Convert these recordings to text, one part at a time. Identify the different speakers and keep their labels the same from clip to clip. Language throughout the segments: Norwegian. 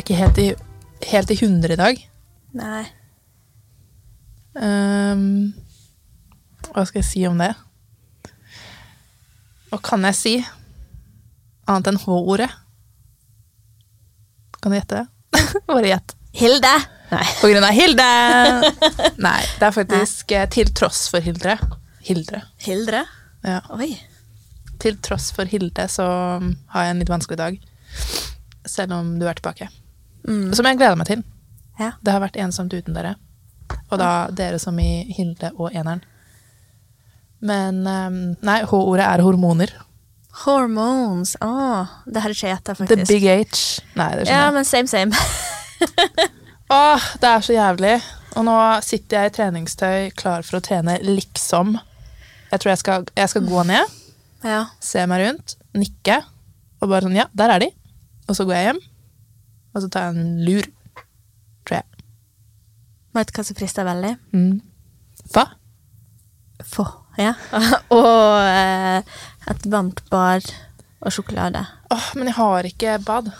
Speaker 1: ikke helt i, helt i 100 i dag.
Speaker 2: Nei.
Speaker 1: Ehm, hva skal jeg si om det? Hva kan jeg si? Annet enn H-ordet. Kan du gjette det? Bare gjett.
Speaker 2: Hilde! Nei.
Speaker 1: På grunn av Hilde! Nei, det er faktisk eh, til tross for Hildre. Hildre.
Speaker 2: Hildre?
Speaker 1: Ja.
Speaker 2: Oi.
Speaker 1: Til tross for Hilde så um, har jeg en litt vanskelig dag. Selv om du er tilbake.
Speaker 2: Mm.
Speaker 1: Som jeg gleder meg til.
Speaker 2: Ja.
Speaker 1: Det har vært ensomt uten dere. Og da dere som i Hilde og eneren. Men eh, Nei, H-ordet er hormoner.
Speaker 2: Hormones. Åh, det hadde ikke jeg gjetta,
Speaker 1: The
Speaker 2: faktisk.
Speaker 1: big H. Nei, det
Speaker 2: ja,
Speaker 1: skjønner jeg.
Speaker 2: men same, same.
Speaker 1: Åh, det er så jævlig. Og nå sitter jeg i treningstøy klar for å trene liksom. Jeg tror jeg skal, jeg skal gå ned.
Speaker 2: ja.
Speaker 1: se meg rundt, nikke, og bare sånn, ja, der er de. Og så går jeg hjem, og så tar jeg en lur, tror jeg.
Speaker 2: Vet du hva som frister veldig?
Speaker 1: Hva?
Speaker 2: Få. Ja. og eh, et varmt bad og sjokolade.
Speaker 1: Åh, men jeg har ikke bad.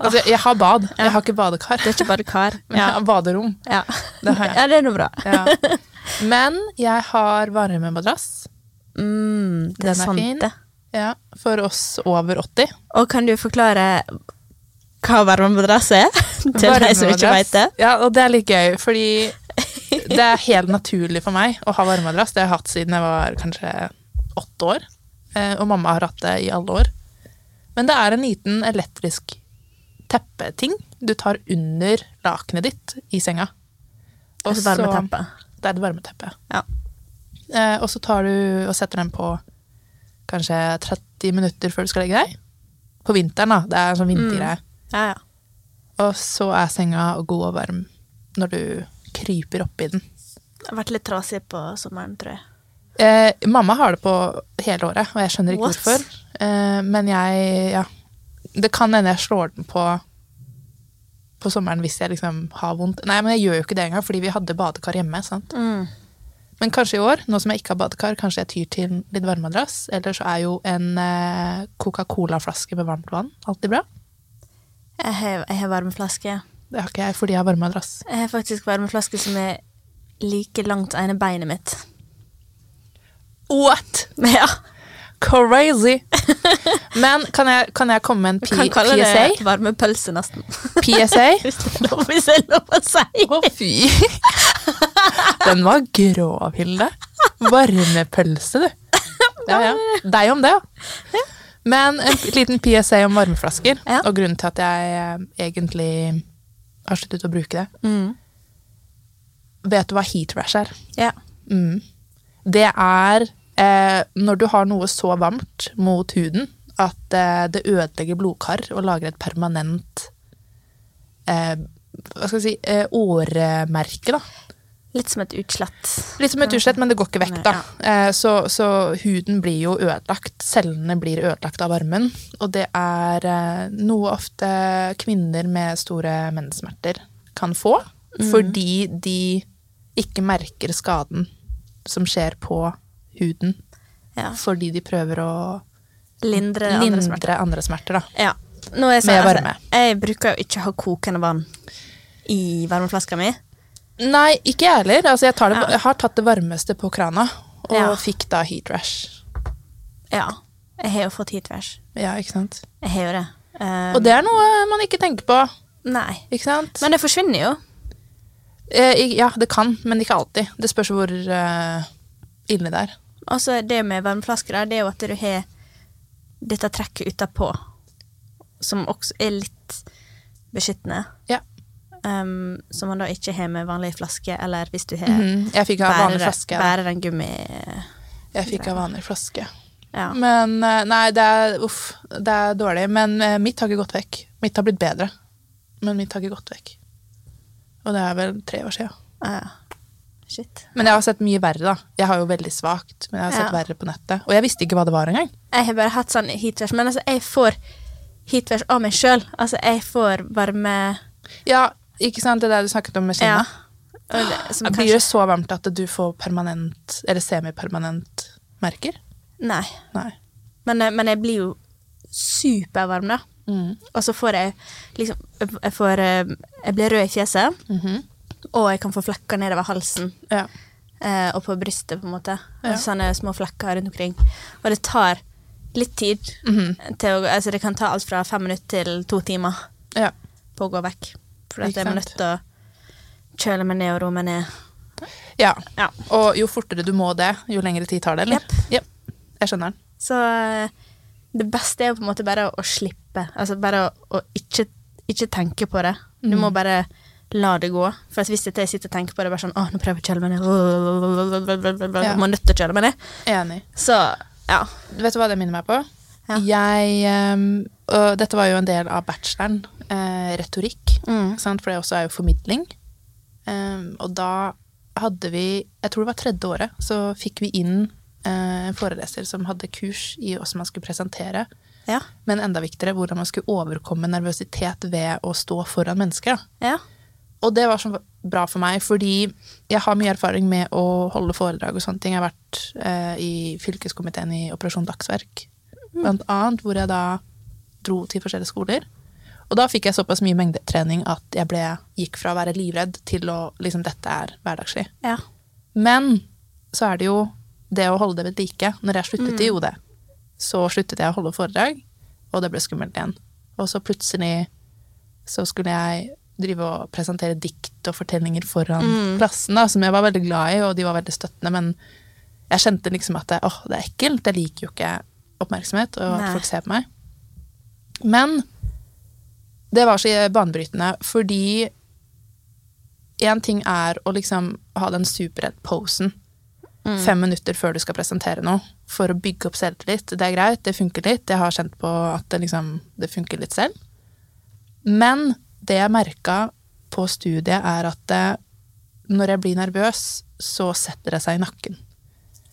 Speaker 1: Altså, jeg har bad, jeg har ikke badekar,
Speaker 2: Det er ikke bare kar.
Speaker 1: men jeg har baderom.
Speaker 2: Ja.
Speaker 1: Det har jeg.
Speaker 2: ja, det er noe bra.
Speaker 1: Ja. Men jeg har varmemadrass,
Speaker 2: Mm, det
Speaker 1: Den er
Speaker 2: er sant,
Speaker 1: fin.
Speaker 2: det.
Speaker 1: ja, for oss over 80.
Speaker 2: Og kan du forklare hva varmemadrass er? Til de som ikke
Speaker 1: Varmemadrass.
Speaker 2: vet det.
Speaker 1: Ja, og det er litt gøy, fordi det er helt naturlig for meg å ha varmedrass. Det har jeg hatt siden jeg var kanskje åtte år, eh, og mamma har hatt det i alle år. Men det er en liten elektrisk teppeting du tar under lakenet ditt i senga. Og
Speaker 2: Altså varmeteppe.
Speaker 1: så- Det er et varmeteppe.
Speaker 2: Ja.
Speaker 1: Eh, og så tar du og setter den på kanskje 30 minutter før du skal legge deg. På vinteren, da. Det er en sånn
Speaker 2: Mm.
Speaker 1: vintergreie.
Speaker 2: Ja, ja.
Speaker 1: Og så er senga god og varm når du kryper oppi den.
Speaker 2: Det har vært litt trasig på sommeren, tror jeg.
Speaker 1: Eh, mamma har det på hele året, og jeg skjønner ikke
Speaker 2: What?
Speaker 1: hvorfor. Eh, men jeg ja. Det kan hende jeg slår den på på sommeren hvis jeg liksom har vondt. Nei, men jeg gjør jo ikke det engang, fordi vi hadde badekar hjemme. sant?
Speaker 2: Mm.
Speaker 1: Men kanskje i år, nå som jeg ikke har badekar, kanskje jeg tyr til litt varmeadrass. Eller så er jo en eh, Coca-Cola-flaske med varmt vann alltid bra.
Speaker 2: Jeg har, jeg har varmeflaske.
Speaker 1: Det har ikke jeg fordi jeg har varmeadrass.
Speaker 2: Jeg har faktisk varmeflaske som er like langt ene beinet mitt.
Speaker 1: What?!
Speaker 2: Ja,
Speaker 1: Crazy! Men kan jeg, kan jeg komme med en P
Speaker 2: kan kalle
Speaker 1: PSA?
Speaker 2: det varmepølse, nesten.
Speaker 1: PSA?
Speaker 2: Hvis det er lov, hvis det er lov å si.
Speaker 1: Å, fy! Den var grov, Hilde. Varmepølse, du. Ja, ja. Deg om det, ja. Men en liten PSA om varmeflasker,
Speaker 2: Ja.
Speaker 1: og grunnen til at jeg eh, egentlig har sluttet å bruke det.
Speaker 2: Mm.
Speaker 1: Vet du hva heat rash er?
Speaker 2: Ja.
Speaker 1: Mm. Det er eh, når du har noe så varmt mot huden at eh, det ødelegger blodkar og lager et permanent eh, hva skal jeg si, eh, åremerke. da.
Speaker 2: Litt som et utslett.
Speaker 1: Litt som et utslett, men det går ikke vekk. da. Eh, så, så huden blir jo ødelagt. Cellene blir ødelagt av varmen. Og det er eh, noe ofte kvinner med store menssmerter kan få,
Speaker 2: Mm.
Speaker 1: fordi de ikke merker skaden som skjer på huden,
Speaker 2: Ja.
Speaker 1: fordi de prøver å
Speaker 2: Lindre Ah. andre
Speaker 1: lindre
Speaker 2: smerter.
Speaker 1: andre, smerter. da.
Speaker 2: Ja. Nå er jeg, sånn,
Speaker 1: Med
Speaker 2: altså,
Speaker 1: varme.
Speaker 2: jeg bruker jo ikke å ha kokende vann i varmeflaska mi.
Speaker 1: Nei, ikke jeg heller. Altså, jeg, tar det, jeg har tatt det varmeste på krana, og
Speaker 2: Ja.
Speaker 1: fikk da heat rash.
Speaker 2: Ja. Jeg har jo fått heatwash.
Speaker 1: Ja, ikke sant?
Speaker 2: Jeg har jo det. Eh,
Speaker 1: Og det er noe man ikke tenker på.
Speaker 2: Nei.
Speaker 1: Ikke sant?
Speaker 2: Men det forsvinner jo.
Speaker 1: Eh, i- ja, det kan, men ikke alltid. Det spørs hvor eh, ille det er.
Speaker 2: Altså, det med varmeflasker da, det er jo at du har dette trekket utapå, som også er litt beskyttende.
Speaker 1: Ja.
Speaker 2: Um, som man da ikke har med vanlig flaske, eller hvis du har
Speaker 1: Mhm. Jeg fikk av vanlig
Speaker 2: bærer,
Speaker 1: flaske.
Speaker 2: bærer en gummi
Speaker 1: Jeg fikk av vanlig flaske.
Speaker 2: ja.
Speaker 1: Men eh, nei, det er, uff, det er dårlig. Men eh, mitt har ikke gått vekk. Mitt har blitt bedre, men mitt har ikke gått vekk. Og det er vel tre år siden.
Speaker 2: ja. Shit.
Speaker 1: Men jeg har sett mye verre, da. Jeg har jo veldig svakt, men jeg har sett
Speaker 2: Ja.
Speaker 1: verre på nettet. Og jeg visste ikke hva det var engang.
Speaker 2: Jeg har bare hatt sånn heatwash, men altså, jeg får heatwash av meg sjøl. Altså, jeg får varme
Speaker 1: Ja, ikke sant, det der du snakket om med
Speaker 2: Ja.
Speaker 1: kinnet.
Speaker 2: Og det, som
Speaker 1: Ah, Blir
Speaker 2: kanskje
Speaker 1: det så varmt at du får permanent, eller semipermanent merker?
Speaker 2: Nei.
Speaker 1: Nei.
Speaker 2: Men, eh, men jeg blir jo supervarm, da.
Speaker 1: Mm.
Speaker 2: Og så får jeg liksom Jeg, får, eh, jeg blir rød i fjeset,
Speaker 1: Mhm.
Speaker 2: og jeg kan få flekker nedover halsen
Speaker 1: Ja.
Speaker 2: eh, og på brystet, på en måte.
Speaker 1: Ja.
Speaker 2: Og Sånne små flekker rundt omkring. Og det tar litt tid.
Speaker 1: Mhm.
Speaker 2: Til å, gå- altså det kan ta alt fra fem minutter til to timer
Speaker 1: ja.
Speaker 2: på å gå vekk. For at
Speaker 1: Ikke
Speaker 2: jeg er nødt
Speaker 1: sant.
Speaker 2: til å kjøle meg ned og roe meg ned.
Speaker 1: Ja.
Speaker 2: Ja.
Speaker 1: Og jo fortere du må det, jo lengre tid tar det, eller?
Speaker 2: Jepp.
Speaker 1: Jepp. Jeg skjønner den.
Speaker 2: Så eh, det beste er jo på en måte bare å slippe. Altså bare å, å ikke, ikke tenke på det. Du må bare la det gå. For at hvis dette jeg sitter og tenker på det, bare sånn Å, nå prøver jeg å kjøle meg ned.
Speaker 1: Ja.
Speaker 2: Jeg må nødt til å kjøle meg ned.
Speaker 1: Enig.
Speaker 2: Så ja.
Speaker 1: Vet du hva det minner meg på?
Speaker 2: Ja.
Speaker 1: Jeg ehm, Og dette var jo en del av bacheloren. Eh, retorikk.
Speaker 2: Mm.
Speaker 1: ikke Sant? For det også er jo formidling. Ehm, og da hadde vi Jeg tror det var tredje året, så fikk vi inn eh, en foreleser som hadde kurs i hvordan man skulle presentere.
Speaker 2: Ja.
Speaker 1: Men enda viktigere hvordan man skulle overkomme nervøsitet ved å stå foran mennesker. da.
Speaker 2: Ja.
Speaker 1: Og det var så bra for meg, fordi jeg har mye erfaring med å holde foredrag og sånne ting. Jeg har vært eh, i fylkeskomiteen i Operasjon Dagsverk, blant annet, hvor jeg da dro til forskjellige skoler. Og da fikk jeg såpass mye mengdetrening at jeg ble, gikk fra å være livredd til å liksom dette er hverdagslig.
Speaker 2: ja.
Speaker 1: Men så er det jo det å holde det ved like. Når jeg sluttet i OD, så sluttet jeg å holde foredrag, og det ble skummelt igjen. Og så plutselig så skulle jeg drive og presentere dikt og fortellinger foran klassen, da, som jeg var veldig glad i, og de var veldig støttende, men jeg kjente liksom at det, åh, det er ekkelt, jeg liker jo ikke oppmerksomhet, og
Speaker 2: Nei.
Speaker 1: at folk ser på meg. Men det var så banebrytende, fordi én ting er å liksom ha den superredd-posen fem minutter før du skal presentere noe, for å bygge opp selvtillit. Det er greit, det funker litt. Jeg har kjent på at det liksom det funker litt selv. Men det jeg merka på studiet, er at eh, når jeg blir nervøs, så setter det seg i nakken.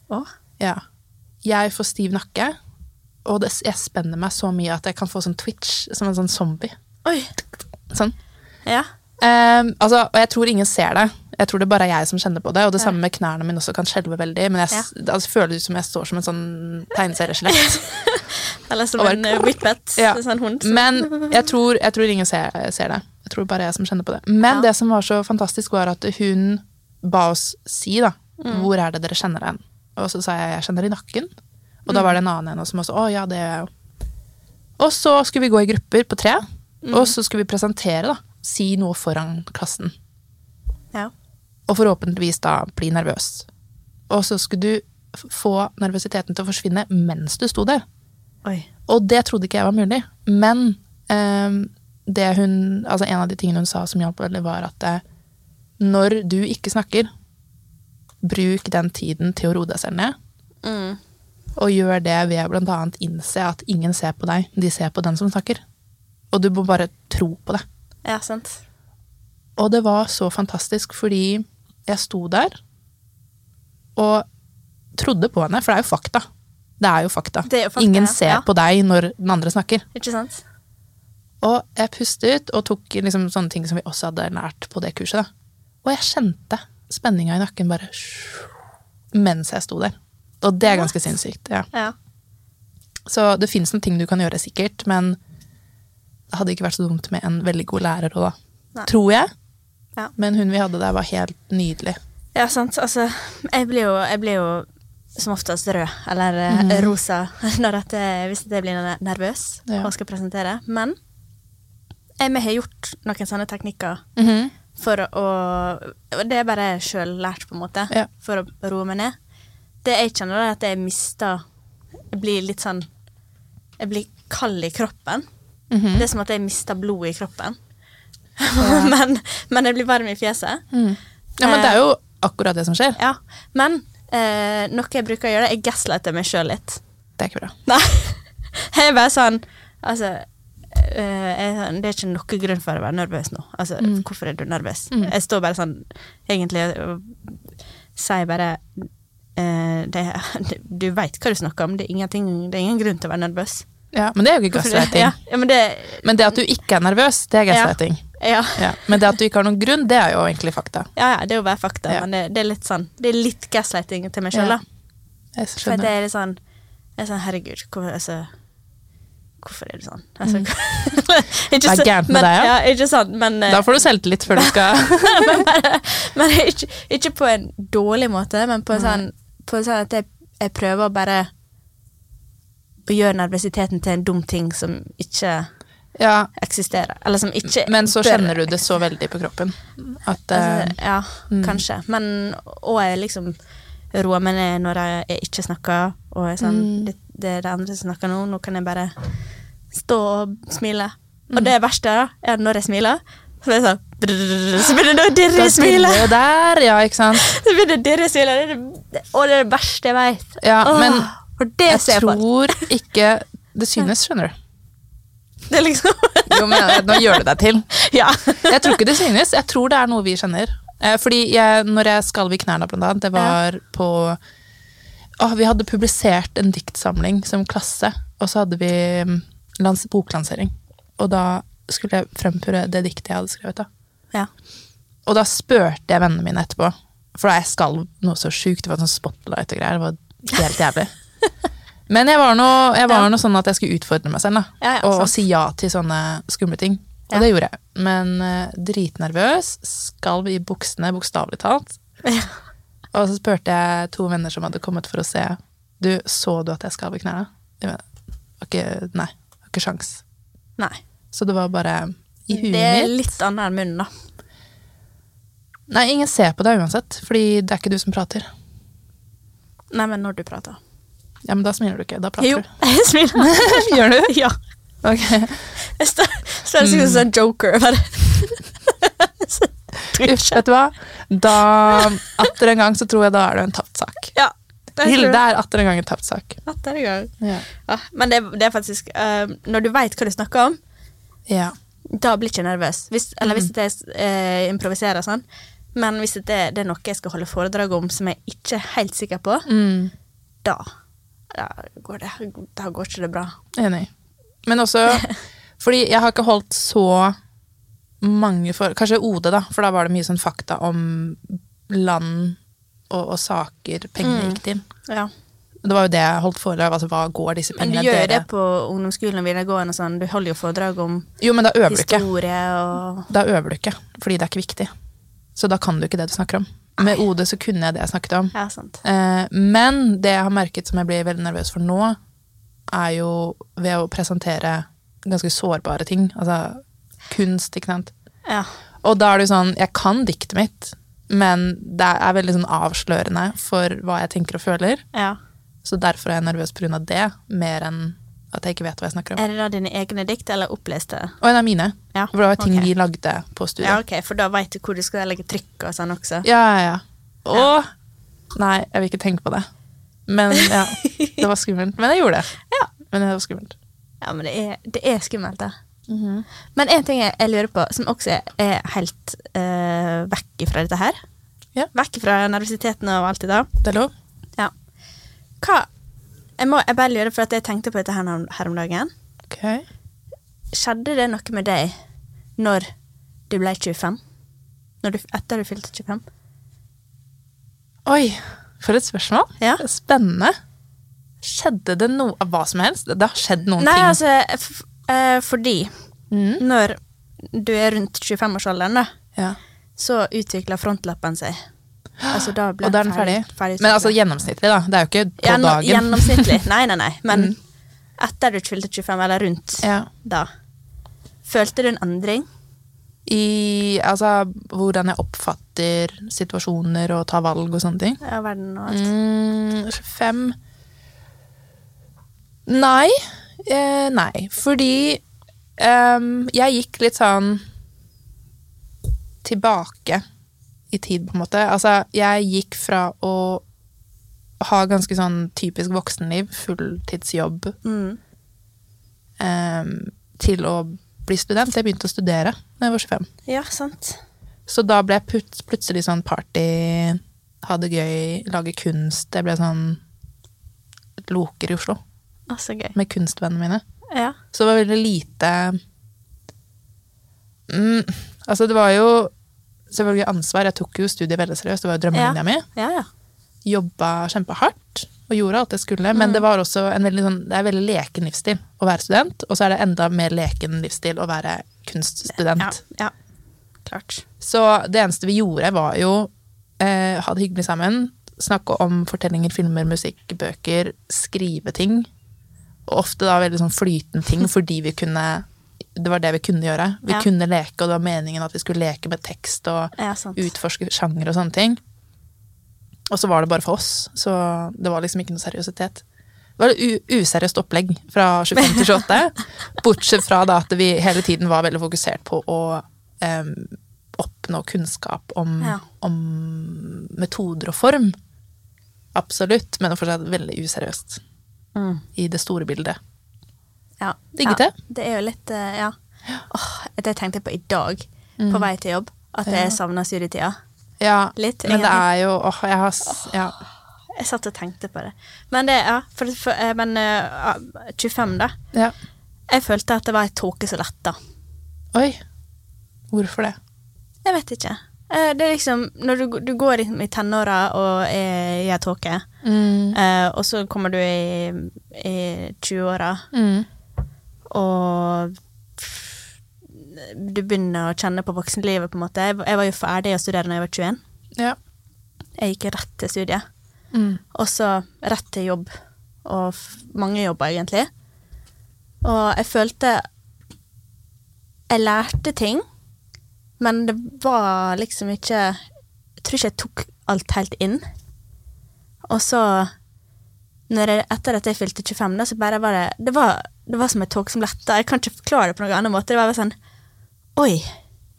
Speaker 2: Å.
Speaker 1: Ja. Jeg får stiv nakke, og det, jeg spenner meg så mye at jeg kan få sånn twitch, som en sånn zombie.
Speaker 2: Oi.
Speaker 1: Sånn.
Speaker 2: Ja.
Speaker 1: Ehm, altså, og jeg tror ingen ser det. Jeg tror det bare er jeg som kjenner på det. Og det samme med knærne mine også kan skjelve veldig. Men jeg s- altså, føler ut som jeg står som en sånn tegneserieskjelett.
Speaker 2: Eller som
Speaker 1: Og bare
Speaker 2: en eh, whippet.
Speaker 1: Ja.
Speaker 2: En sånn hund. som-
Speaker 1: Men jeg tror, jeg tror ingen ser, ser det. Jeg tror bare jeg som kjenner på det. Men
Speaker 2: Ja.
Speaker 1: det som var så fantastisk, var at hun ba oss si, da,
Speaker 2: Mm.
Speaker 1: hvor er det dere kjenner den? Og så sa jeg jeg kjenner det i nakken. Og
Speaker 2: Mm.
Speaker 1: da var det en annen en som også Å ja, det gjør jeg jo. Og så skulle vi gå i grupper på tre,
Speaker 2: Mm.
Speaker 1: og så skulle vi presentere, da. Si noe foran klassen.
Speaker 2: Ja.
Speaker 1: og forhåpentligvis da bli nervøs. Og så skulle du f- få nervøsiteten til å forsvinne mens du sto der.
Speaker 2: Oi.
Speaker 1: Og det trodde ikke jeg var mulig. Men ehm, det hun, altså en av de tingene hun sa som hjalp veldig, var at eh, når du ikke snakker, bruk den tiden til å roe deg selv ned.
Speaker 2: Mm.
Speaker 1: Og gjør det ved å blant annet innse at ingen ser på deg, de ser på den som snakker. Og du må bare tro på det.
Speaker 2: Ja, sant.
Speaker 1: Og det var så fantastisk, fordi jeg sto der og trodde på henne, for det er jo fakta. Det er jo fakta.
Speaker 2: Det er jo fakta,
Speaker 1: Ingen
Speaker 2: ja.
Speaker 1: ser
Speaker 2: Ja.
Speaker 1: på deg når den andre snakker.
Speaker 2: Ikke sant?
Speaker 1: Og jeg pustet og tok liksom sånne ting som vi også hadde lært på det kurset. Da. Og jeg kjente spenninga i nakken bare mens jeg sto der. Og det er ganske sinnssykt. Ja.
Speaker 2: Ja.
Speaker 1: Så det fins noen ting du kan gjøre, sikkert, men det hadde ikke vært så dumt med en veldig god lærer òg, da.
Speaker 2: Nei.
Speaker 1: Tror jeg.
Speaker 2: Ja.
Speaker 1: Men hun vi hadde der, var helt nydelig.
Speaker 2: Ja, sant. Altså, jeg blir jo, jeg blir jo som oftest rød, eller eh, rosa, når at jeg, hvis at jeg blir ne- nervøs
Speaker 1: Mhm. Ja.
Speaker 2: og skal presentere. Men jeg, vi har gjort noen sånne teknikker for å og Det er bare sjøllært, på en måte,
Speaker 1: Ja.
Speaker 2: for å roe meg ned. Det jeg kjenner, er at jeg mister Jeg blir litt sånn Jeg blir kald i kroppen.
Speaker 1: Mhm.
Speaker 2: Det er som at jeg mister blodet i kroppen. men, men jeg blir varm i fjeset.
Speaker 1: Ja, men det er jo akkurat det som skjer.
Speaker 2: Ja, men eh, noe jeg bruker å gjøre, jeg gaslighter meg sjøl litt.
Speaker 1: Det er ikke bra.
Speaker 2: Nei, jeg er bare sånn Altså, eh, jeg, er sånn, det er ikke noe grunn for å være nervøs nå. Altså,
Speaker 1: Mm.
Speaker 2: hvorfor er du nervøs? Jeg står bare sånn, egentlig, og sier bare eh, det, Du veit hva du snakker om, det er, ingenting, det er ingen grunn til å være nervøs.
Speaker 1: Ja, men det er jo ikke
Speaker 2: Hvorfor det-
Speaker 1: gaslighting.
Speaker 2: Ja, ja, men det
Speaker 1: Men det at du ikke er nervøs, det er gaslighting.
Speaker 2: ja.
Speaker 1: Ja. Men det at du ikke har noen grunn, det er jo egentlig fakta.
Speaker 2: ja, ja, det er jo bare fakta,
Speaker 1: Ja.
Speaker 2: men det, det er litt sånn Det er litt gaslighting til meg sjøl,
Speaker 1: Ja.
Speaker 2: da.
Speaker 1: Jeg
Speaker 2: For det
Speaker 1: skjønner.
Speaker 2: er litt sånn, jeg er sånn Herregud, hvor, altså, Hvorfor er du sånn? Altså,
Speaker 1: Det er gærent Mm. med
Speaker 2: men,
Speaker 1: deg, ja.
Speaker 2: ja. Ikke sant, men, eh,
Speaker 1: Da får du selvtillit før du skal
Speaker 2: men, bare, men ikke, ikke på en dårlig måte, men på en sånn, på en sånn at jeg, jeg prøver å bare å gjøre nervøsiteten til en dum ting som ikke
Speaker 1: Ja,
Speaker 2: eksisterer. Eller som ikke
Speaker 1: men så
Speaker 2: bør-
Speaker 1: kjenner du det så veldig på kroppen at eh,
Speaker 2: Altså, ja, kanskje. Men, og jeg liksom roer meg ned når jeg ikke snakker. Og jeg er sånn, det, det er det andre som snakker nå, nå kan jeg bare stå og smile. Og det verste da, er at når jeg smiler, så blir det sånn drrrr, Så begynner det å dirre
Speaker 1: da
Speaker 2: i smilet!
Speaker 1: stiller det Der, ja, ikke sant.
Speaker 2: Så begynner det å dirre i smilet. Det er det- Og det er det verste jeg vet.
Speaker 1: Ja,
Speaker 2: Åh,
Speaker 1: men
Speaker 2: og det
Speaker 1: Jeg
Speaker 2: ser jeg på.
Speaker 1: tror ikke det synes, skjønner du.
Speaker 2: Det er liksom
Speaker 1: Jo, men eh, nå gjør du deg til.
Speaker 2: Ja.
Speaker 1: Jeg tror ikke det synes. Jeg tror det er noe vi kjenner. Eh, Fordi jeg, når jeg skalv i knærne, blant annet, det var på Åh, Vi hadde publisert en diktsamling som klasse, og så hadde vi mm, lans boklansering. Og da skulle jeg fremføre det diktet jeg hadde skrevet. da.
Speaker 2: ja.
Speaker 1: Og da spurte jeg vennene mine etterpå, for da jeg skalv noe så sjukt. Det var sånn spotlight og greier. Det var helt jævlig. Men jeg var nå jeg var nå sånn at jeg skulle utfordre meg selv, da.
Speaker 2: Ja, ja,
Speaker 1: og, og
Speaker 2: sant.
Speaker 1: si ja til sånne skumle ting. Og
Speaker 2: Ja.
Speaker 1: det gjorde jeg. Men eh, dritnervøs. Skalv i buksene, bokstavelig talt.
Speaker 2: Ja.
Speaker 1: Og så spurte jeg to venner som hadde kommet for å se. Du, så du at jeg skalv i knærne? De var var ikke Nei, var ikke sjans.
Speaker 2: Nei.
Speaker 1: Så det var bare i huet
Speaker 2: Det er
Speaker 1: mitt.
Speaker 2: litt annet enn munnen, da.
Speaker 1: Nei, ingen ser på deg uansett, fordi det er ikke du som prater.
Speaker 2: Nei, men når du prater.
Speaker 1: Ja, men da smiler du ikke. Da prater
Speaker 2: Jo,
Speaker 1: du.
Speaker 2: jeg smiler.
Speaker 1: Gjør du?
Speaker 2: ja.
Speaker 1: Ok.
Speaker 2: Jeg står så er det sikkert sånn joker. Bare.
Speaker 1: Uff, vet du hva? Da, atter en gang, så tror jeg da er det en tapt sak.
Speaker 2: Ja. det er
Speaker 1: Hilde er atter en gang en tapt sak.
Speaker 2: sikkert- Atter en gang.
Speaker 1: Ja.
Speaker 2: Ja, men det, er- det er faktisk eh, Når du veit hva du snakker om, da blir jeg ikke nervøs. Hvis, eller hvis det er eh, improviserer sånn. Men hvis det er, det er noe jeg skal holde foredrag om som jeg ikke er helt sikker på,
Speaker 1: Mm,
Speaker 2: da, da, går, det, da går ikke det bra.
Speaker 1: enig. Men også fordi jeg har ikke holdt så mange for... Kanskje OD, da, for da var det mye sånn fakta om land og, og saker
Speaker 2: Mm.
Speaker 1: pengene gikk til.
Speaker 2: Ja.
Speaker 1: Det var jo det jeg holdt foredrag om. Altså, hva går disse
Speaker 2: Men du
Speaker 1: pengene
Speaker 2: gjør jo
Speaker 1: dere-
Speaker 2: det på ungdomsskolen og videregående. og Sånn. Du holder jo foredrag om
Speaker 1: Jo, men da øver du ikke.
Speaker 2: historie og
Speaker 1: da øver du ikke, fordi det er ikke viktig. Så da kan du ikke det du snakker om. Med OD så kunne jeg det jeg snakket om.
Speaker 2: Ja, sant.
Speaker 1: Eh, men det jeg har merket som jeg blir veldig nervøs for nå, er jo ved å presentere ganske sårbare ting. Altså kunst, ikke sant.
Speaker 2: Ja.
Speaker 1: Og da er det jo sånn, jeg kan diktet mitt, men det er veldig sånn avslørende for hva jeg tenker og føler.
Speaker 2: ja.
Speaker 1: Så derfor er jeg nervøs pga. det, mer enn at jeg ikke vet hva jeg snakker om.
Speaker 2: Er det da dine egne dikt, eller oppleste?
Speaker 1: Og det er mine.
Speaker 2: Ja,
Speaker 1: For det var ting
Speaker 2: Eh. ok.
Speaker 1: vi lagde på studiet.
Speaker 2: Ja, ok, for da veit du hvor du skal legge trykk og sånn også.
Speaker 1: Ja, ja, ja. Og Nei, jeg vil ikke tenke på det. Men ja, det var skummelt. Men jeg gjorde det.
Speaker 2: Ja.
Speaker 1: Men det var skummelt.
Speaker 2: Ja, men det er, det er skummelt, da. Mhm. Men en ting jeg, jeg lurer på, som også er helt eh, vekk fra dette her.
Speaker 1: Ja.
Speaker 2: Vekk fra nervøsiteten og alt det der.
Speaker 1: Det er lov?
Speaker 2: Ja. Hva Jeg må jeg bare lurer, for at jeg tenkte på dette her, om- her om dagen.
Speaker 1: Ok.
Speaker 2: Skjedde det noe med deg når du ble 25? Når du, etter du fylte 25?
Speaker 1: Oi, for et spørsmål.
Speaker 2: Ja.
Speaker 1: Spennende. Skjedde det noe av hva som helst? Det har skjedd noen
Speaker 2: Nei,
Speaker 1: ting.
Speaker 2: altså, f eh, fordi
Speaker 1: Mm.
Speaker 2: når du er rundt 25-årsalderen, da,
Speaker 1: Ja.
Speaker 2: så utvikler frontlappen seg. Altså, da blir
Speaker 1: Og da er den ferdig. Men altså gjennomsnittlig, da. Det er jo ikke på
Speaker 2: Gjennom-
Speaker 1: dagen. Mm.
Speaker 2: Gjennomsnittlig. Nei, nei, nei. Men etter du fylte 25, eller rundt
Speaker 1: Ja.
Speaker 2: da, følte du en endring?
Speaker 1: I altså hvordan jeg oppfatter situasjoner og tar valg og sånne ting.
Speaker 2: Ja, verden og alt.
Speaker 1: Mm, 25 Nei. Eh, nei. Fordi ehm, jeg gikk litt sånn tilbake i tid, på en måte. Altså, jeg gikk fra å ha ganske sånn typisk voksenliv, fulltidsjobb,
Speaker 2: Mm.
Speaker 1: ehm, til å bli student. Jeg begynte å studere da jeg var 25.
Speaker 2: Ja, sant.
Speaker 1: Så da ble jeg plut plutselig sånn party, ha det gøy, lage kunst. Jeg ble sånn et loker i Oslo
Speaker 2: Å, så gøy.
Speaker 1: med kunstvennene mine.
Speaker 2: Ja.
Speaker 1: Så det var veldig lite mm, Altså, det var jo selvfølgelig ansvar. Jeg tok jo studiet veldig seriøst. Det var jo drømmelinja mi.
Speaker 2: Ja, ja.
Speaker 1: Jobba kjempehardt. og gjorde alt jeg skulle, men det var også en veldig, sånn, det er veldig leken livsstil å være student, og så er det enda mer leken livsstil å være kunststudent.
Speaker 2: Ja, ja. klart.
Speaker 1: Så det eneste vi gjorde, var jo eh, ha det hyggelig sammen, snakke om fortellinger, filmer, musikk, bøker, skrive ting. Og ofte da veldig sånn flytende ting, fordi vi kunne Det var det vi kunne gjøre. Vi
Speaker 2: Ja.
Speaker 1: kunne leke, og det var meningen at vi skulle leke med tekst og
Speaker 2: Ja, sant.
Speaker 1: utforske sjanger og sånne ting. Og så var det bare for oss, så det var liksom ikke noe seriøsitet. Det var et u- useriøst opplegg fra 25 til 28, bortsett fra da at vi hele tiden var veldig fokusert på å em, oppnå kunnskap om,
Speaker 2: Ja.
Speaker 1: om metoder og form. Absolutt, men det var fortsatt veldig useriøst
Speaker 2: Mm.
Speaker 1: i det store bildet.
Speaker 2: Ja.
Speaker 1: Digget
Speaker 2: ja.
Speaker 1: det?
Speaker 2: Det er jo litt eh, Ja. Åh, det tenkte jeg på i dag,
Speaker 1: Mm.
Speaker 2: på vei til jobb. At jeg savner studietida.
Speaker 1: Ja,
Speaker 2: Litt,
Speaker 1: men det
Speaker 2: egentlig.
Speaker 1: er jo åh, jeg har s- ja.
Speaker 2: Jeg satt og tenkte på det. Men det, ja. For, for, eh, men eh, 25, da.
Speaker 1: ja.
Speaker 2: Jeg følte at det var ei tåke som letta.
Speaker 1: Oi. Hvorfor det?
Speaker 2: Jeg vet ikke. Eh, Det er liksom Når du, du går liksom i tenåra og er- gjør tåke, eh, og så kommer du i, i 20-åra
Speaker 1: Mm.
Speaker 2: og du begynner å kjenne på voksenlivet, på en måte. Jeg var- Jeg var jo ferdig å studere når jeg var 21.
Speaker 1: Ja.
Speaker 2: Jeg gikk rett til studiet.
Speaker 1: Mm.
Speaker 2: Og så rett til jobb. Og f mange jobber, egentlig. Og jeg følte Jeg lærte ting, men det var liksom ikke Jeg tror ikke jeg tok alt helt inn. Og så når jeg, etter at jeg fylte 25, da, så bare var det Det var, det var som et tog som letta. Jeg kan ikke forklare det på noen annen måte. Det var bare sånn Oi,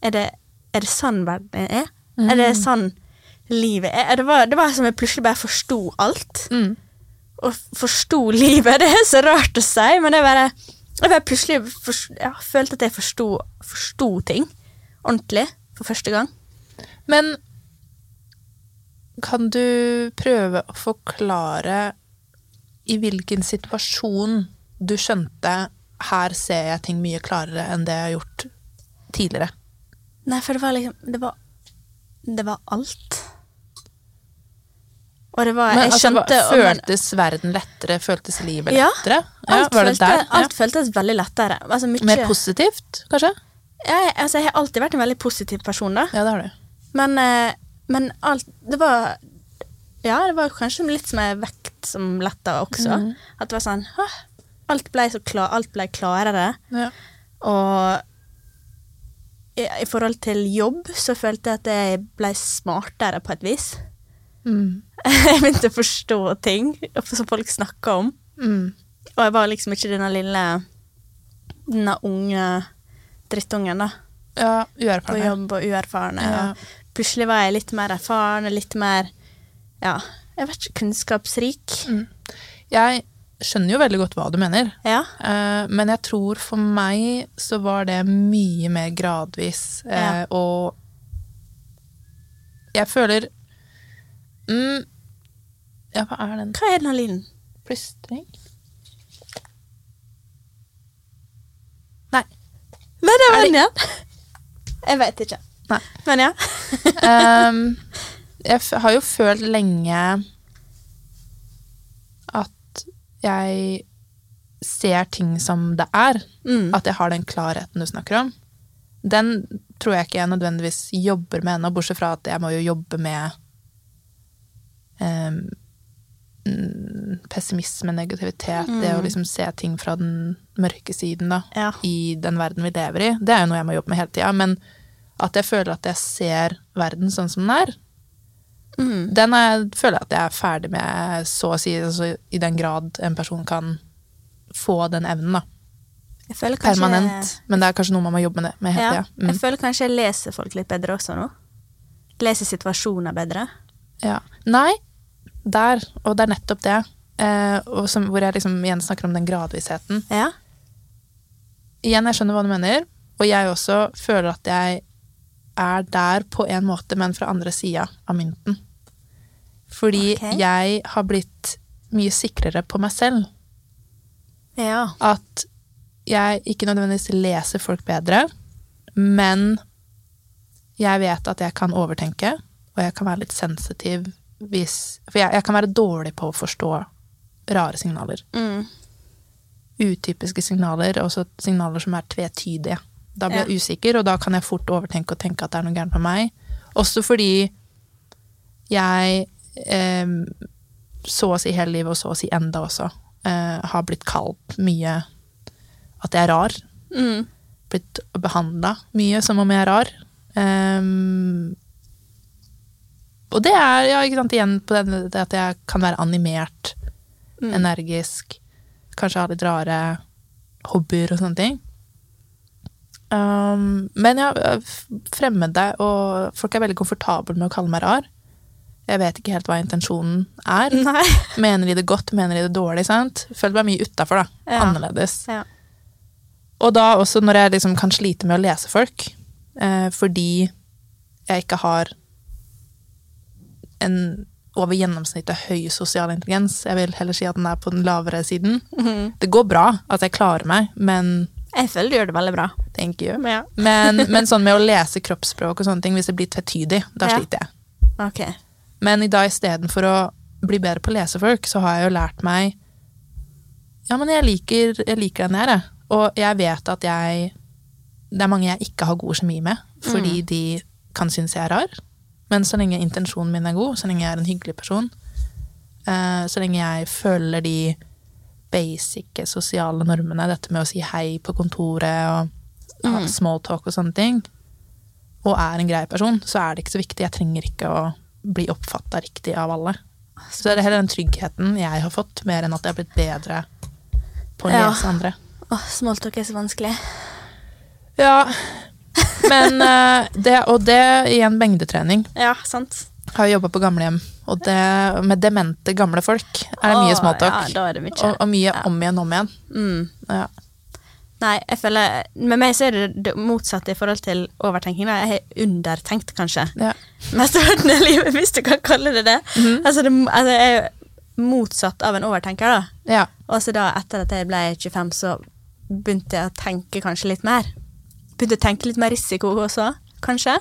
Speaker 2: er det, er det sånn verden er? Er det sånn livet er? er? Det var, det var som jeg plutselig bare forsto alt.
Speaker 1: Mm.
Speaker 2: Og f- forsto livet. Det er så rart å si, men jeg bare, jeg bare plutselig forst- ja, følte at jeg forsto, forsto ting ordentlig for første gang.
Speaker 1: Men kan du prøve å forklare i hvilken situasjon du skjønte her ser jeg ting mye klarere enn det jeg har gjort tidligere?
Speaker 2: Nei, for det var liksom Det var, det var alt. Og det var
Speaker 1: Men,
Speaker 2: Jeg
Speaker 1: altså, hva-
Speaker 2: skjønte og- men-
Speaker 1: føltes verden lettere? Føltes livet
Speaker 2: Ja,
Speaker 1: lettere? Ja,
Speaker 2: Alt,
Speaker 1: var det
Speaker 2: følte,
Speaker 1: der? Ja.
Speaker 2: alt føltes veldig lettere. Altså, mye,
Speaker 1: Mer positivt, kanskje?
Speaker 2: jeg, altså, jeg har alltid vært en veldig positiv person, da.
Speaker 1: Ja, det har du.
Speaker 2: Men, eh, men alt Det var Ja, det var kanskje litt som en vekt som letta også. At det var sånn «Hå, Alt ble så klar, alt ble klarere.
Speaker 1: Ja.
Speaker 2: Og i, i forhold til jobb så følte jeg at jeg ble smartere på et vis.
Speaker 1: Mm.
Speaker 2: Jeg begynte å forstå ting som folk snakka om.
Speaker 1: Mm.
Speaker 2: Og jeg var liksom ikke denne lille Denne unge drittungen, da.
Speaker 1: ja
Speaker 2: På
Speaker 1: uerfarne.
Speaker 2: jobb og uerfarne.
Speaker 1: Ja.
Speaker 2: Og plutselig var jeg litt mer erfaren og litt mer Ja, jeg vet ikke Kunnskapsrik.
Speaker 1: Mm. Jeg skjønner jo veldig godt hva du mener.
Speaker 2: Ja.
Speaker 1: Eh, men jeg tror for meg så var det mye mer gradvis. eh,
Speaker 2: Ja.
Speaker 1: Og jeg føler mm, Ja, hva er den?
Speaker 2: Hva er denne lyden?
Speaker 1: Plystring? Nei.
Speaker 2: Nei, det
Speaker 1: Er
Speaker 2: var
Speaker 1: det-
Speaker 2: den igjen! Jeg vet ikke.
Speaker 1: Nei.
Speaker 2: Men ja.
Speaker 1: Ehm, jeg f har jo følt lenge at jeg ser ting som det er.
Speaker 2: Mm.
Speaker 1: At jeg har den klarheten du snakker om. Den tror jeg ikke jeg nødvendigvis jobber med ennå, bortsett fra at jeg må jo jobbe med ehm, mm, pessimisme, negativitet, det å liksom se ting fra den mørke siden da,
Speaker 2: Mm. Ja.
Speaker 1: i den verden vi lever i. Det er jo noe jeg må jobbe med hele tida, men at jeg føler at jeg ser verden sånn som den er,
Speaker 2: Mm.
Speaker 1: den er, føler jeg at jeg er ferdig med, så å si, altså, i den grad en person kan få den evnen, da.
Speaker 2: Jeg føler kanskje
Speaker 1: Permanent. Men det er kanskje noe man må jobbe med, det- med hele
Speaker 2: Ja.
Speaker 1: tida. Mm.
Speaker 2: Jeg føler kanskje jeg leser folk litt bedre også nå. Leser situasjoner bedre.
Speaker 1: Ja. Nei, der, og det er nettopp det, eh, og som, hvor jeg liksom igjen snakker om den gradvisheten.
Speaker 2: Ja.
Speaker 1: Igjen, jeg skjønner hva du mener, og jeg også føler at jeg er der på en måte, men fra andre sida av mynten. Fordi
Speaker 2: Ok.
Speaker 1: jeg har blitt mye sikrere på meg selv.
Speaker 2: Ja.
Speaker 1: At jeg ikke nødvendigvis leser folk bedre, men jeg vet at jeg kan overtenke, og jeg kan være litt sensitiv hvis For jeg, jeg kan være dårlig på å forstå rare signaler.
Speaker 2: Mm.
Speaker 1: Utypiske signaler, og også signaler som er tvetydige. Da blir
Speaker 2: Ja.
Speaker 1: jeg usikker, og da kan jeg fort overtenke og tenke at det er noe gærent med meg. Også fordi jeg eh, så å si hele livet, og så å si enda også, eh, har blitt kalt mye at jeg er rar
Speaker 2: Mm.
Speaker 1: blitt behandla mye som om jeg er rar. Ehm, og det er ja, ikke sant, igjen på den, det at jeg kan være animert,
Speaker 2: Mm.
Speaker 1: energisk, kanskje ha litt rare hobbyer og sånne ting. Ehm, men ja, f- fremmede og folk er veldig komfortable med å kalle meg rar. Jeg vet ikke helt hva intensjonen er.
Speaker 2: Nei.
Speaker 1: Mener de det godt, mener de det dårlig? sant? Føler meg mye utafor, da.
Speaker 2: Ja.
Speaker 1: Annerledes.
Speaker 2: Ja.
Speaker 1: Og da også når jeg liksom kan slite med å lese folk, eh, fordi jeg ikke har en over gjennomsnittet høy sosial intelligens. Jeg vil heller si at den er på den lavere siden.
Speaker 2: Mhm.
Speaker 1: Det går bra at jeg klarer meg, men
Speaker 2: Jeg føler du gjør det veldig bra.
Speaker 1: thank you.
Speaker 2: Ja.
Speaker 1: Men, men sånn med å lese kroppsspråk og sånne ting, hvis det blir tvetydig, da
Speaker 2: Ja.
Speaker 1: sliter jeg.
Speaker 2: Ok.
Speaker 1: Men i dag istedenfor å bli bedre på å lese folk, så har jeg jo lært meg Ja, men jeg liker, jeg liker den jeg er, jeg. Og jeg vet at jeg Det er mange jeg ikke har god kjemi med, fordi de kan synes jeg er rar. Men så lenge intensjonen min er god, så lenge jeg er en hyggelig person, eh, så lenge jeg følger de basic sosiale normene, dette med å si hei på kontoret og ha small talk og sånne ting, og er en grei person, så er det ikke så viktig. Jeg trenger ikke å bli oppfatta riktig av alle. Så det er heller den tryggheten jeg har fått, mer enn at jeg har blitt bedre på å
Speaker 2: Ja.
Speaker 1: lese andre.
Speaker 2: Åh, Smalltalk er så vanskelig.
Speaker 1: Ja, men eh, det, Og det igjen mengdetrening.
Speaker 2: Ja, sant.
Speaker 1: Har jobba på gamlehjem, og det, med demente gamle folk er det mye
Speaker 2: Åh,
Speaker 1: småtalk.
Speaker 2: Ja, da er det mye.
Speaker 1: og, og mye om igjen, om igjen.
Speaker 2: Mm.
Speaker 1: Ja.
Speaker 2: Nei, jeg føler Med meg så er det det motsatte i forhold til overtenking. da. Jeg har undertenkt, kanskje.
Speaker 1: Ja.
Speaker 2: Mesteparten av livet, hvis du kan kalle det det.
Speaker 1: Mhm.
Speaker 2: Altså, det altså, jeg er jo motsatt av en overtenker, da.
Speaker 1: ja.
Speaker 2: Og så da, etter at jeg ble 25, så begynte jeg å tenke kanskje litt mer. Begynte å tenke litt mer risiko også, kanskje.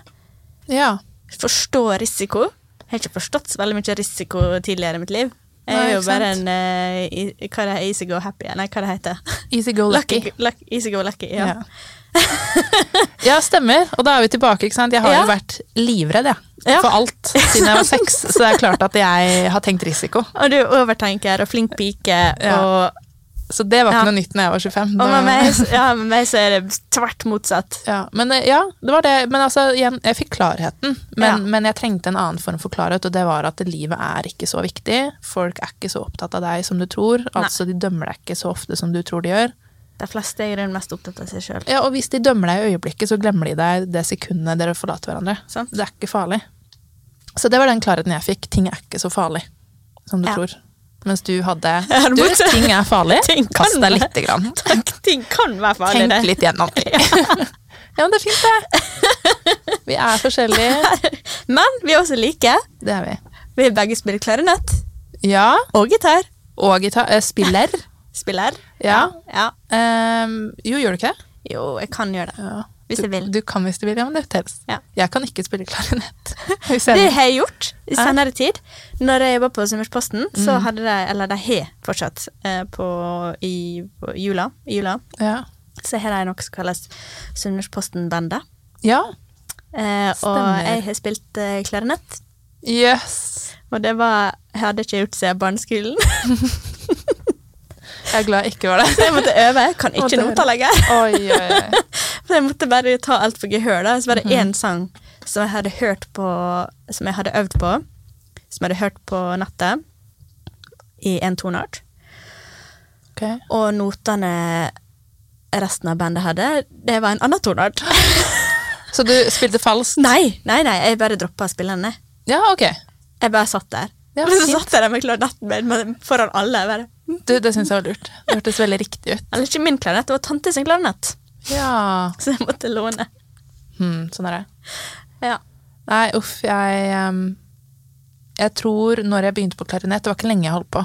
Speaker 1: Ja.
Speaker 2: Forstå risiko. Jeg har ikke forstått så veldig mye risiko tidligere i mitt liv. Jeg
Speaker 1: Nei,
Speaker 2: er jo
Speaker 1: ikke
Speaker 2: bare
Speaker 1: sant?
Speaker 2: en eh, i- Hva er det? Easy go happy? Nei, hva det heter
Speaker 1: Easy go lucky.
Speaker 2: Lucky, lucky, easy go lucky, ja.
Speaker 1: Ja. ja, stemmer. Og da er vi tilbake. ikke sant? Jeg har
Speaker 2: Ja.
Speaker 1: jo vært livredd jeg,
Speaker 2: Ja.
Speaker 1: for alt siden jeg var seks, så det er klart at jeg har tenkt risiko.
Speaker 2: Og du overtenker og flink pike,
Speaker 1: Ja.
Speaker 2: og,
Speaker 1: Så det var ikke
Speaker 2: Ja.
Speaker 1: noe nytt når jeg var 25.
Speaker 2: og
Speaker 1: Da-
Speaker 2: med, meg, ja, med meg så er det tvert motsatt.
Speaker 1: Ja, men, eh, ja, det var det. Men altså, igjen, jeg fikk klarheten. Men,
Speaker 2: Ja.
Speaker 1: men jeg trengte en annen form for klarhet, og det var at livet er ikke så viktig. Folk er ikke så opptatt av deg som du tror. Altså, de dømmer deg ikke så ofte som du tror de gjør.
Speaker 2: De fleste er i grunnen mest opptatt av seg sjøl.
Speaker 1: Ja, og hvis de dømmer deg i øyeblikket, så glemmer de deg det sekundet dere forlater hverandre.
Speaker 2: Sant.
Speaker 1: Det er ikke farlig. Så det var den klarheten jeg fikk. Ting er ikke så farlig som du
Speaker 2: Ja.
Speaker 1: tror. Mens du hadde
Speaker 2: Ja, det
Speaker 1: Du,
Speaker 2: måtte-
Speaker 1: ting er farlig.
Speaker 2: Ting kan
Speaker 1: Kast deg
Speaker 2: være-
Speaker 1: lite grann.
Speaker 2: Ting kan være farlig,
Speaker 1: Tenk litt gjennom ting. ja, men det er fint, det. Vi er forskjellige.
Speaker 2: Men vi er også like.
Speaker 1: Det er vi.
Speaker 2: Vi har begge spilt klarinett
Speaker 1: Ja.
Speaker 2: og gitar.
Speaker 1: Og gitar. eh, Spiller.
Speaker 2: Spiller.
Speaker 1: Ja.
Speaker 2: Ja.
Speaker 1: Ehm, jo, gjør du ikke det?
Speaker 2: Jo, jeg kan gjøre det.
Speaker 1: Ja.
Speaker 2: Hvis jeg vil.
Speaker 1: Du, du kan hvis du vil, ja, men det telles.
Speaker 2: Ja.
Speaker 1: Jeg kan ikke spille klarinett. Hvis jeg
Speaker 2: Det
Speaker 1: vil.
Speaker 2: har jeg gjort i senere tid. Når jeg jobba på Summersposten, så
Speaker 1: Mm.
Speaker 2: hadde de, eller de har fortsatt, eh, på, i på jula, i jula,
Speaker 1: Ja.
Speaker 2: så har de noe som kalles Sunnmørsposten-bandet.
Speaker 1: ja.
Speaker 2: Eh, og
Speaker 1: Stemmer.
Speaker 2: jeg har spilt eh, klarinett.
Speaker 1: Yes.
Speaker 2: Og det var jeg hadde ikke gjort siden barneskolen.
Speaker 1: Jeg er glad jeg ikke var det.
Speaker 2: Så jeg måtte øve. Jeg kan
Speaker 1: Måtte
Speaker 2: ikke noter
Speaker 1: høre.
Speaker 2: lenger.
Speaker 1: Oi, oi, oi.
Speaker 2: Så jeg måtte bare ta alt på gehør. da. Så var det én sang som jeg hadde hørt på, som jeg hadde øvd på, som jeg hadde hørt på nettet, i en toneart.
Speaker 1: Ok.
Speaker 2: Og notene resten av bandet hadde, det var en annen toneart.
Speaker 1: Så du spilte falskt?
Speaker 2: Nei, nei, nei, jeg bare droppa å spille den. jeg.
Speaker 1: Ja, ok.
Speaker 2: Jeg bare satt der.
Speaker 1: Ja,
Speaker 2: Og så
Speaker 1: fint.
Speaker 2: satt jeg der med klarinetten min med- foran alle. jeg Bare.
Speaker 1: Du, det syns jeg var lurt. Det hørtes veldig riktig ut.
Speaker 2: Eller ikke min klarinett, det var tante sin klarinett.
Speaker 1: Ja.
Speaker 2: Så jeg måtte låne.
Speaker 1: Hmm, sånn er det.
Speaker 2: Ja.
Speaker 1: Nei, uff, jeg ehm, Jeg tror når jeg begynte på klarinett, det var ikke lenge jeg holdt på,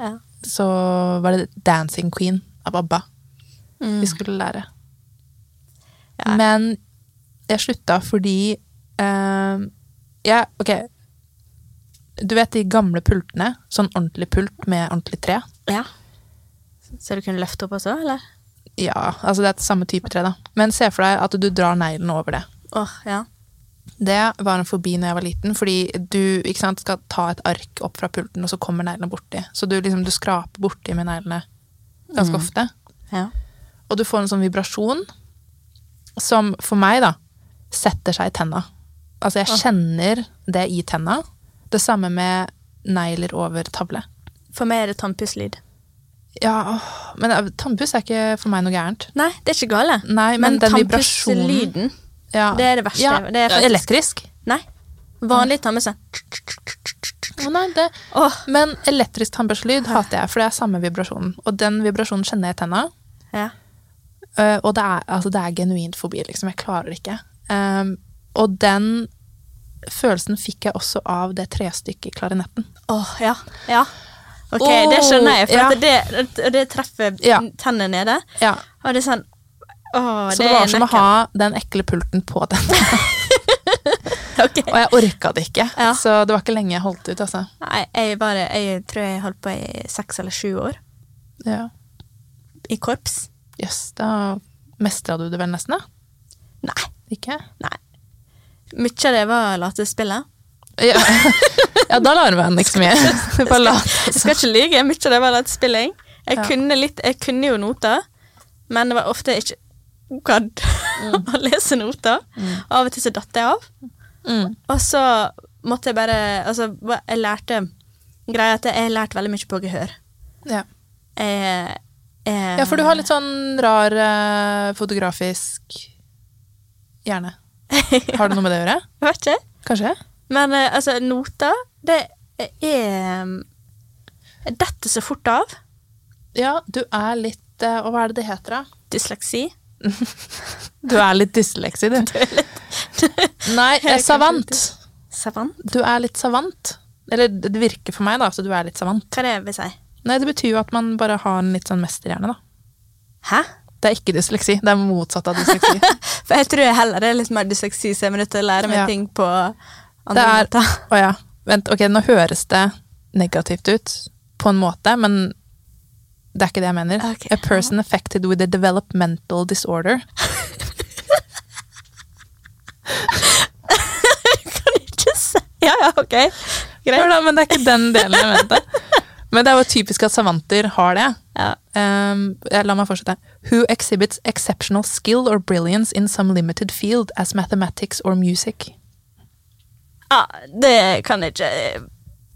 Speaker 2: ja.
Speaker 1: så var det Dancing Queen av ABBA
Speaker 2: Mm.
Speaker 1: vi skulle lære.
Speaker 2: Ja.
Speaker 1: Men jeg slutta fordi ehm, jeg, Ok, Du vet de gamle pultene? Sånn ordentlig pult med ordentlig tre?
Speaker 2: Ja. Så du kunne løfte opp også, eller?
Speaker 1: Ja, altså det er et samme type tre, da. Men se for deg at du drar neglen over det.
Speaker 2: Åh, ja.
Speaker 1: Det var en fobi når jeg var liten, fordi du ikke sant, skal ta et ark opp fra pulten, og så kommer neglene borti. Så du, liksom, du skraper borti med neglene
Speaker 2: Mm.
Speaker 1: ganske ofte.
Speaker 2: ja.
Speaker 1: Og du får en sånn vibrasjon som for meg, da, setter seg i tenna. Altså,
Speaker 2: Ah.
Speaker 1: jeg kjenner det i tenna. Det samme med negler over tavle.
Speaker 2: For meg er det tannpusslyd.
Speaker 1: Ja, åh, men eh, tannpuss er ikke for meg noe gærent.
Speaker 2: Nei, det er ikke gale.
Speaker 1: Nei, men, den vibrasjonen
Speaker 2: tannpusselyden,
Speaker 1: ja.
Speaker 2: det er det verste.
Speaker 1: Ja,
Speaker 2: Det er faktisk-
Speaker 1: elektrisk.
Speaker 2: Nei. Vanlig tannpuss er
Speaker 1: Å, nei, det...
Speaker 2: Åh,
Speaker 1: Men elektrisk tannbørstelyd hater jeg, for det er samme vibrasjonen. Og den vibrasjonen kjenner jeg i tenna,
Speaker 2: ja.
Speaker 1: øh, og det er, altså, det er genuint fobi, liksom. Jeg klarer det ikke. Ehm, og den følelsen fikk jeg også av det trestykket i klarinetten.
Speaker 2: Åh, ja. ja. Ok,
Speaker 1: Åh,
Speaker 2: det skjønner jeg, for
Speaker 1: ja.
Speaker 2: at det, og det treffer
Speaker 1: Ja.
Speaker 2: tennene nede.
Speaker 1: Ja,
Speaker 2: Og det er sånn Åh,
Speaker 1: så det,
Speaker 2: er
Speaker 1: var som å
Speaker 2: nøkken.
Speaker 1: ha den ekle pulten på den.
Speaker 2: Ok.
Speaker 1: Og jeg orka det ikke,
Speaker 2: Ja.
Speaker 1: så det var ikke lenge jeg holdt ut, altså.
Speaker 2: Nei, jeg, bare, jeg tror jeg holdt på i seks eller sju år.
Speaker 1: Ja.
Speaker 2: I korps.
Speaker 1: Jøss, da mestra du det vel nesten, da?
Speaker 2: Nei.
Speaker 1: Ikke?
Speaker 2: nei. Mye av det var latespillet.
Speaker 1: Ja, ja da lar man ikke så mye. Bare lat.
Speaker 2: Jeg skal ikke lyge, mye av det var latespilling. Jeg,
Speaker 1: Ja.
Speaker 2: kunne litt, jeg kunne jo noter, men det var ofte jeg ikke gadd å lese noter. Av og til så datt jeg av.
Speaker 1: Mm.
Speaker 2: Og så måtte jeg bare Altså, hva- jeg lærte Greia er at jeg lærte veldig mye på gehør.
Speaker 1: Ja.
Speaker 2: Jeg, jeg,
Speaker 1: Ja, for du har litt sånn rar eh, fotografisk hjerne. Har det noe med det å gjøre?
Speaker 2: Jeg vet ikke.
Speaker 1: Kanskje?
Speaker 2: Men eh, altså, noter, det er Jeg detter så fort av.
Speaker 1: Ja, du er litt eh, Og hva er det det heter, da?
Speaker 2: Dysleksi.
Speaker 1: Du er litt dysleksi, du. Nei, eh, savant.
Speaker 2: Savant.
Speaker 1: Du er litt savant. Eller det virker for meg, da, så du er litt savant.
Speaker 2: Hva er det jeg vil si?
Speaker 1: Nei, det betyr jo at man bare har en litt sånn mesterhjerne, da.
Speaker 2: Hæ?
Speaker 1: Det er ikke dysleksi. Det er motsatt av dysleksi.
Speaker 2: For jeg tror jeg heller det er litt mer dysleksi, så jeg er nødt til å lære meg
Speaker 1: Ja.
Speaker 2: ting på
Speaker 1: Det
Speaker 2: andre
Speaker 1: er-
Speaker 2: måter.
Speaker 1: Å ja. Vent, ok, nå høres det negativt ut på en måte, men det er ikke det jeg mener.
Speaker 2: Ok.
Speaker 1: A person affected with a developmental disorder.
Speaker 2: Kan jeg ikke si Ja, ja, OK.
Speaker 1: Hør
Speaker 2: Greit.
Speaker 1: da, men det er ikke den delen jeg mente. Men det er jo typisk at savanter har det.
Speaker 2: Ja.
Speaker 1: Um, ja, la meg fortsette. Who exhibits exceptional skill or brilliance in some limited field as mathematics or music?
Speaker 2: ja, det kan jeg ikke eh,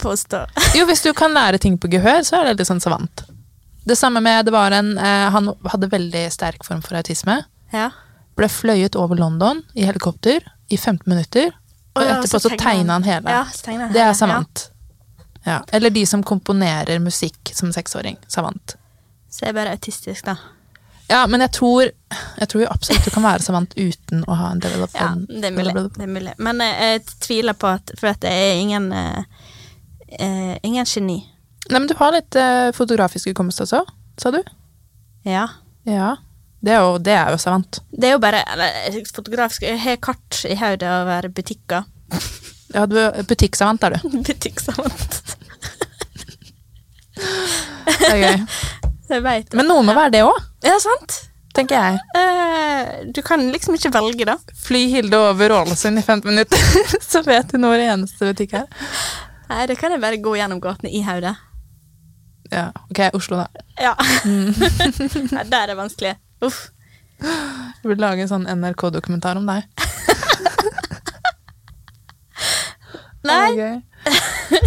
Speaker 2: påstå.
Speaker 1: Jo, hvis du kan lære ting på gehør, så er det litt sånn savant. Det samme med, det var en, eh, han hadde veldig sterk form for autisme.
Speaker 2: Ja.
Speaker 1: ble fløyet over London i helikopter i 15 minutter, og
Speaker 2: Å ja,
Speaker 1: etterpå
Speaker 2: så
Speaker 1: så tegna han hele.
Speaker 2: Ja, så tegner han
Speaker 1: det
Speaker 2: hele,
Speaker 1: er savant. Ja. Eller de som komponerer musikk som seksåring. Savant.
Speaker 2: Ja. Så jeg er bare autistisk, da.
Speaker 1: Ja, men jeg tror, jeg tror jo absolutt du kan være savant uten å ha en developer.
Speaker 2: Ja, det er mulig. Det er mulig. Men eh, jeg tviler på at For at jeg er ingen eh, eh, Ingen geni.
Speaker 1: Nei, men du har litt eh, fotografisk hukommelse også, sa du?
Speaker 2: Ja.
Speaker 1: Ja. Det er jo, det er jo savant.
Speaker 2: Det er jo bare eller, fotografisk Jeg har kart i hodet over butikker.
Speaker 1: Ja, du er butikksavant er du.
Speaker 2: Butikksavant.
Speaker 1: Det er gøy.
Speaker 2: Jeg veit det.
Speaker 1: Men noe må være det òg,
Speaker 2: Ja, sant?
Speaker 1: tenker jeg.
Speaker 2: Eh, du kan liksom ikke velge, da.
Speaker 1: Fly Hilde over Ålesund i 15 minutter, så vet du når eneste butikk er.
Speaker 2: Nei, det kan jeg bare gå gjennom gatene i hodet.
Speaker 1: Ja, ok, Oslo da.
Speaker 2: Ja. Mm. Nei, der er det vanskelig. Uff.
Speaker 1: Du burde lage en sånn NRK-dokumentar om deg.
Speaker 2: Nei,
Speaker 1: Det er gøy.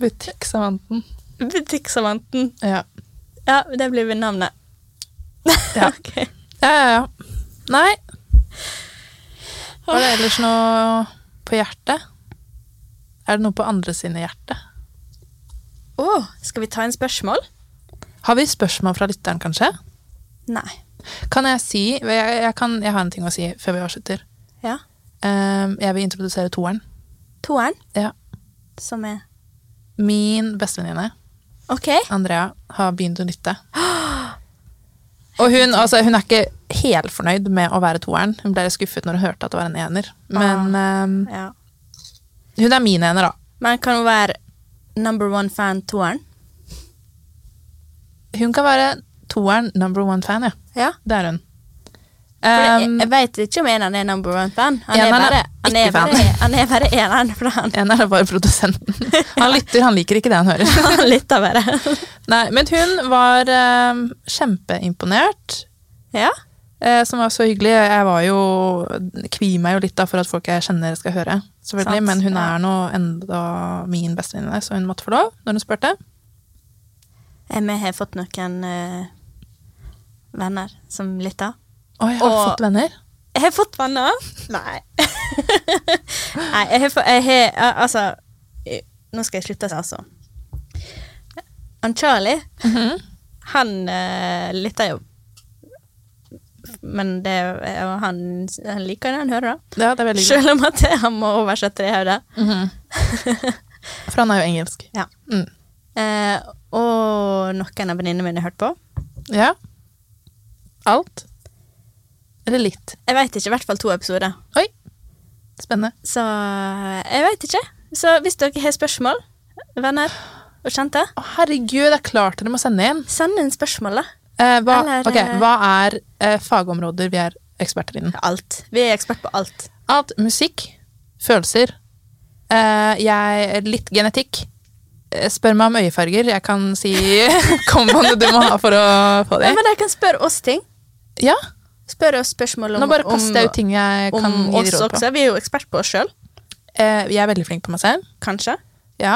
Speaker 1: Butikksavanten.
Speaker 2: Butikksavanten.
Speaker 1: Ja.
Speaker 2: Ja, det blir vel navnet.
Speaker 1: Ja.
Speaker 2: Ok.
Speaker 1: ja, ja, ja. Nei. Var det ellers noe på hjertet? Er det noe på andre sine hjerte?
Speaker 2: Å, skal vi ta en spørsmål?
Speaker 1: Har vi spørsmål fra lytteren, kanskje?
Speaker 2: Nei.
Speaker 1: Kan jeg si Jeg, jeg, kan, jeg har en ting å si før vi avslutter.
Speaker 2: Ja.
Speaker 1: Ehm, jeg vil introdusere toeren.
Speaker 2: Toeren,
Speaker 1: Ja.
Speaker 2: som er
Speaker 1: Min bestevenninne
Speaker 2: OK.
Speaker 1: Andrea har begynt å lytte. Og hun, altså, hun er ikke helt fornøyd med å være toeren. Hun ble litt skuffet når hun
Speaker 2: Ah.
Speaker 1: hørte at det var en ener. Men ehm,
Speaker 2: Ja.
Speaker 1: hun er min ener, da.
Speaker 2: Men kan hun være number one fan toeren.
Speaker 1: Hun kan være toeren number one-fan, ja.
Speaker 2: Ja.
Speaker 1: Det er hun.
Speaker 2: For jeg,
Speaker 1: Um,
Speaker 2: jeg vet ikke om eneren er number one fan. Han er
Speaker 1: Eneren er
Speaker 2: bare, han er
Speaker 1: ikke fan.
Speaker 2: bare, han er bare eneren, for han,
Speaker 1: en er bare produsenten. Han lytter, han liker ikke det han hører.
Speaker 2: han lytter bare.
Speaker 1: Nei, men hun var um, kjempeimponert.
Speaker 2: Ja.
Speaker 1: Eh, som var så hyggelig. Jeg var jo kvier meg jo litt da for at folk jeg kjenner skal høre. selvfølgelig,
Speaker 2: Sant,
Speaker 1: Men hun
Speaker 2: ja.
Speaker 1: er nå enda min bestevenninne, så hun måtte få lov når hun spurte.
Speaker 2: Eh, Vi har fått noen eh, venner som lytter.
Speaker 1: Å, jeg har
Speaker 2: Og-
Speaker 1: fått venner.
Speaker 2: Jeg har fått venner. Nei. Nei, jeg har fått jeg har, al- Altså eh, Nå skal jeg slutte, altså. Han Charlie,
Speaker 1: Mhm.
Speaker 2: han eh, lytter jo. Men det er jo han, han liker det han hører, da.
Speaker 1: Ja, det er veldig hyggelig.
Speaker 2: Selv om at han må oversette det i hodet.
Speaker 1: Mhm. For han er jo engelsk.
Speaker 2: Ja.
Speaker 1: Mm.
Speaker 2: Eh, og noen av venninnene mine har hørt på.
Speaker 1: Ja. Alt. Eller litt.
Speaker 2: Jeg veit ikke. I hvert fall to episoder.
Speaker 1: Oi! Spennende.
Speaker 2: Så eh, jeg veit ikke. Så hvis dere har spørsmål, venner og kjente,
Speaker 1: Å, herregud, det er klart dere må sende inn.
Speaker 2: send inn spørsmål, da.
Speaker 1: Eh, hva,
Speaker 2: Eller,
Speaker 1: ok,
Speaker 2: eh,
Speaker 1: hva er eh, fagområder vi er eksperter innen?
Speaker 2: Alt. Vi er ekspert på alt.
Speaker 1: Alt musikk, følelser, eh, jeg, litt genetikk. Eh, Spør meg om øyefarger. Jeg kan si komboene du må ha for å få
Speaker 2: Ja,
Speaker 1: det.
Speaker 2: men dere kan spørre oss ting.
Speaker 1: Ja,
Speaker 2: Spør oss spørsmål om
Speaker 1: Nå bare kaster jeg ut ting jeg
Speaker 2: om
Speaker 1: kan gi
Speaker 2: oss
Speaker 1: de råd på.
Speaker 2: også. Vi er jo ekspert på oss sjøl,
Speaker 1: Eh, jeg er veldig flink på meg selv.
Speaker 2: kanskje.
Speaker 1: Ja.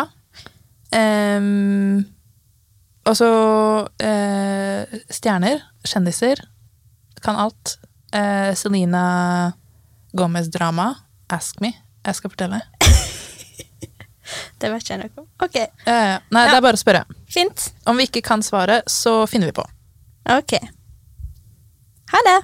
Speaker 1: Ehm, og så eh, stjerner, kjendiser, kan alt. Eh, Selena Gomez-drama, Ask Me. Jeg skal fortelle.
Speaker 2: Det vet ikke jeg noe om. OK,
Speaker 1: Eh, nei, det
Speaker 2: Ja.
Speaker 1: er bare å spørre.
Speaker 2: fint.
Speaker 1: Om vi ikke kan svaret, så finner vi på.
Speaker 2: OK. Ha det.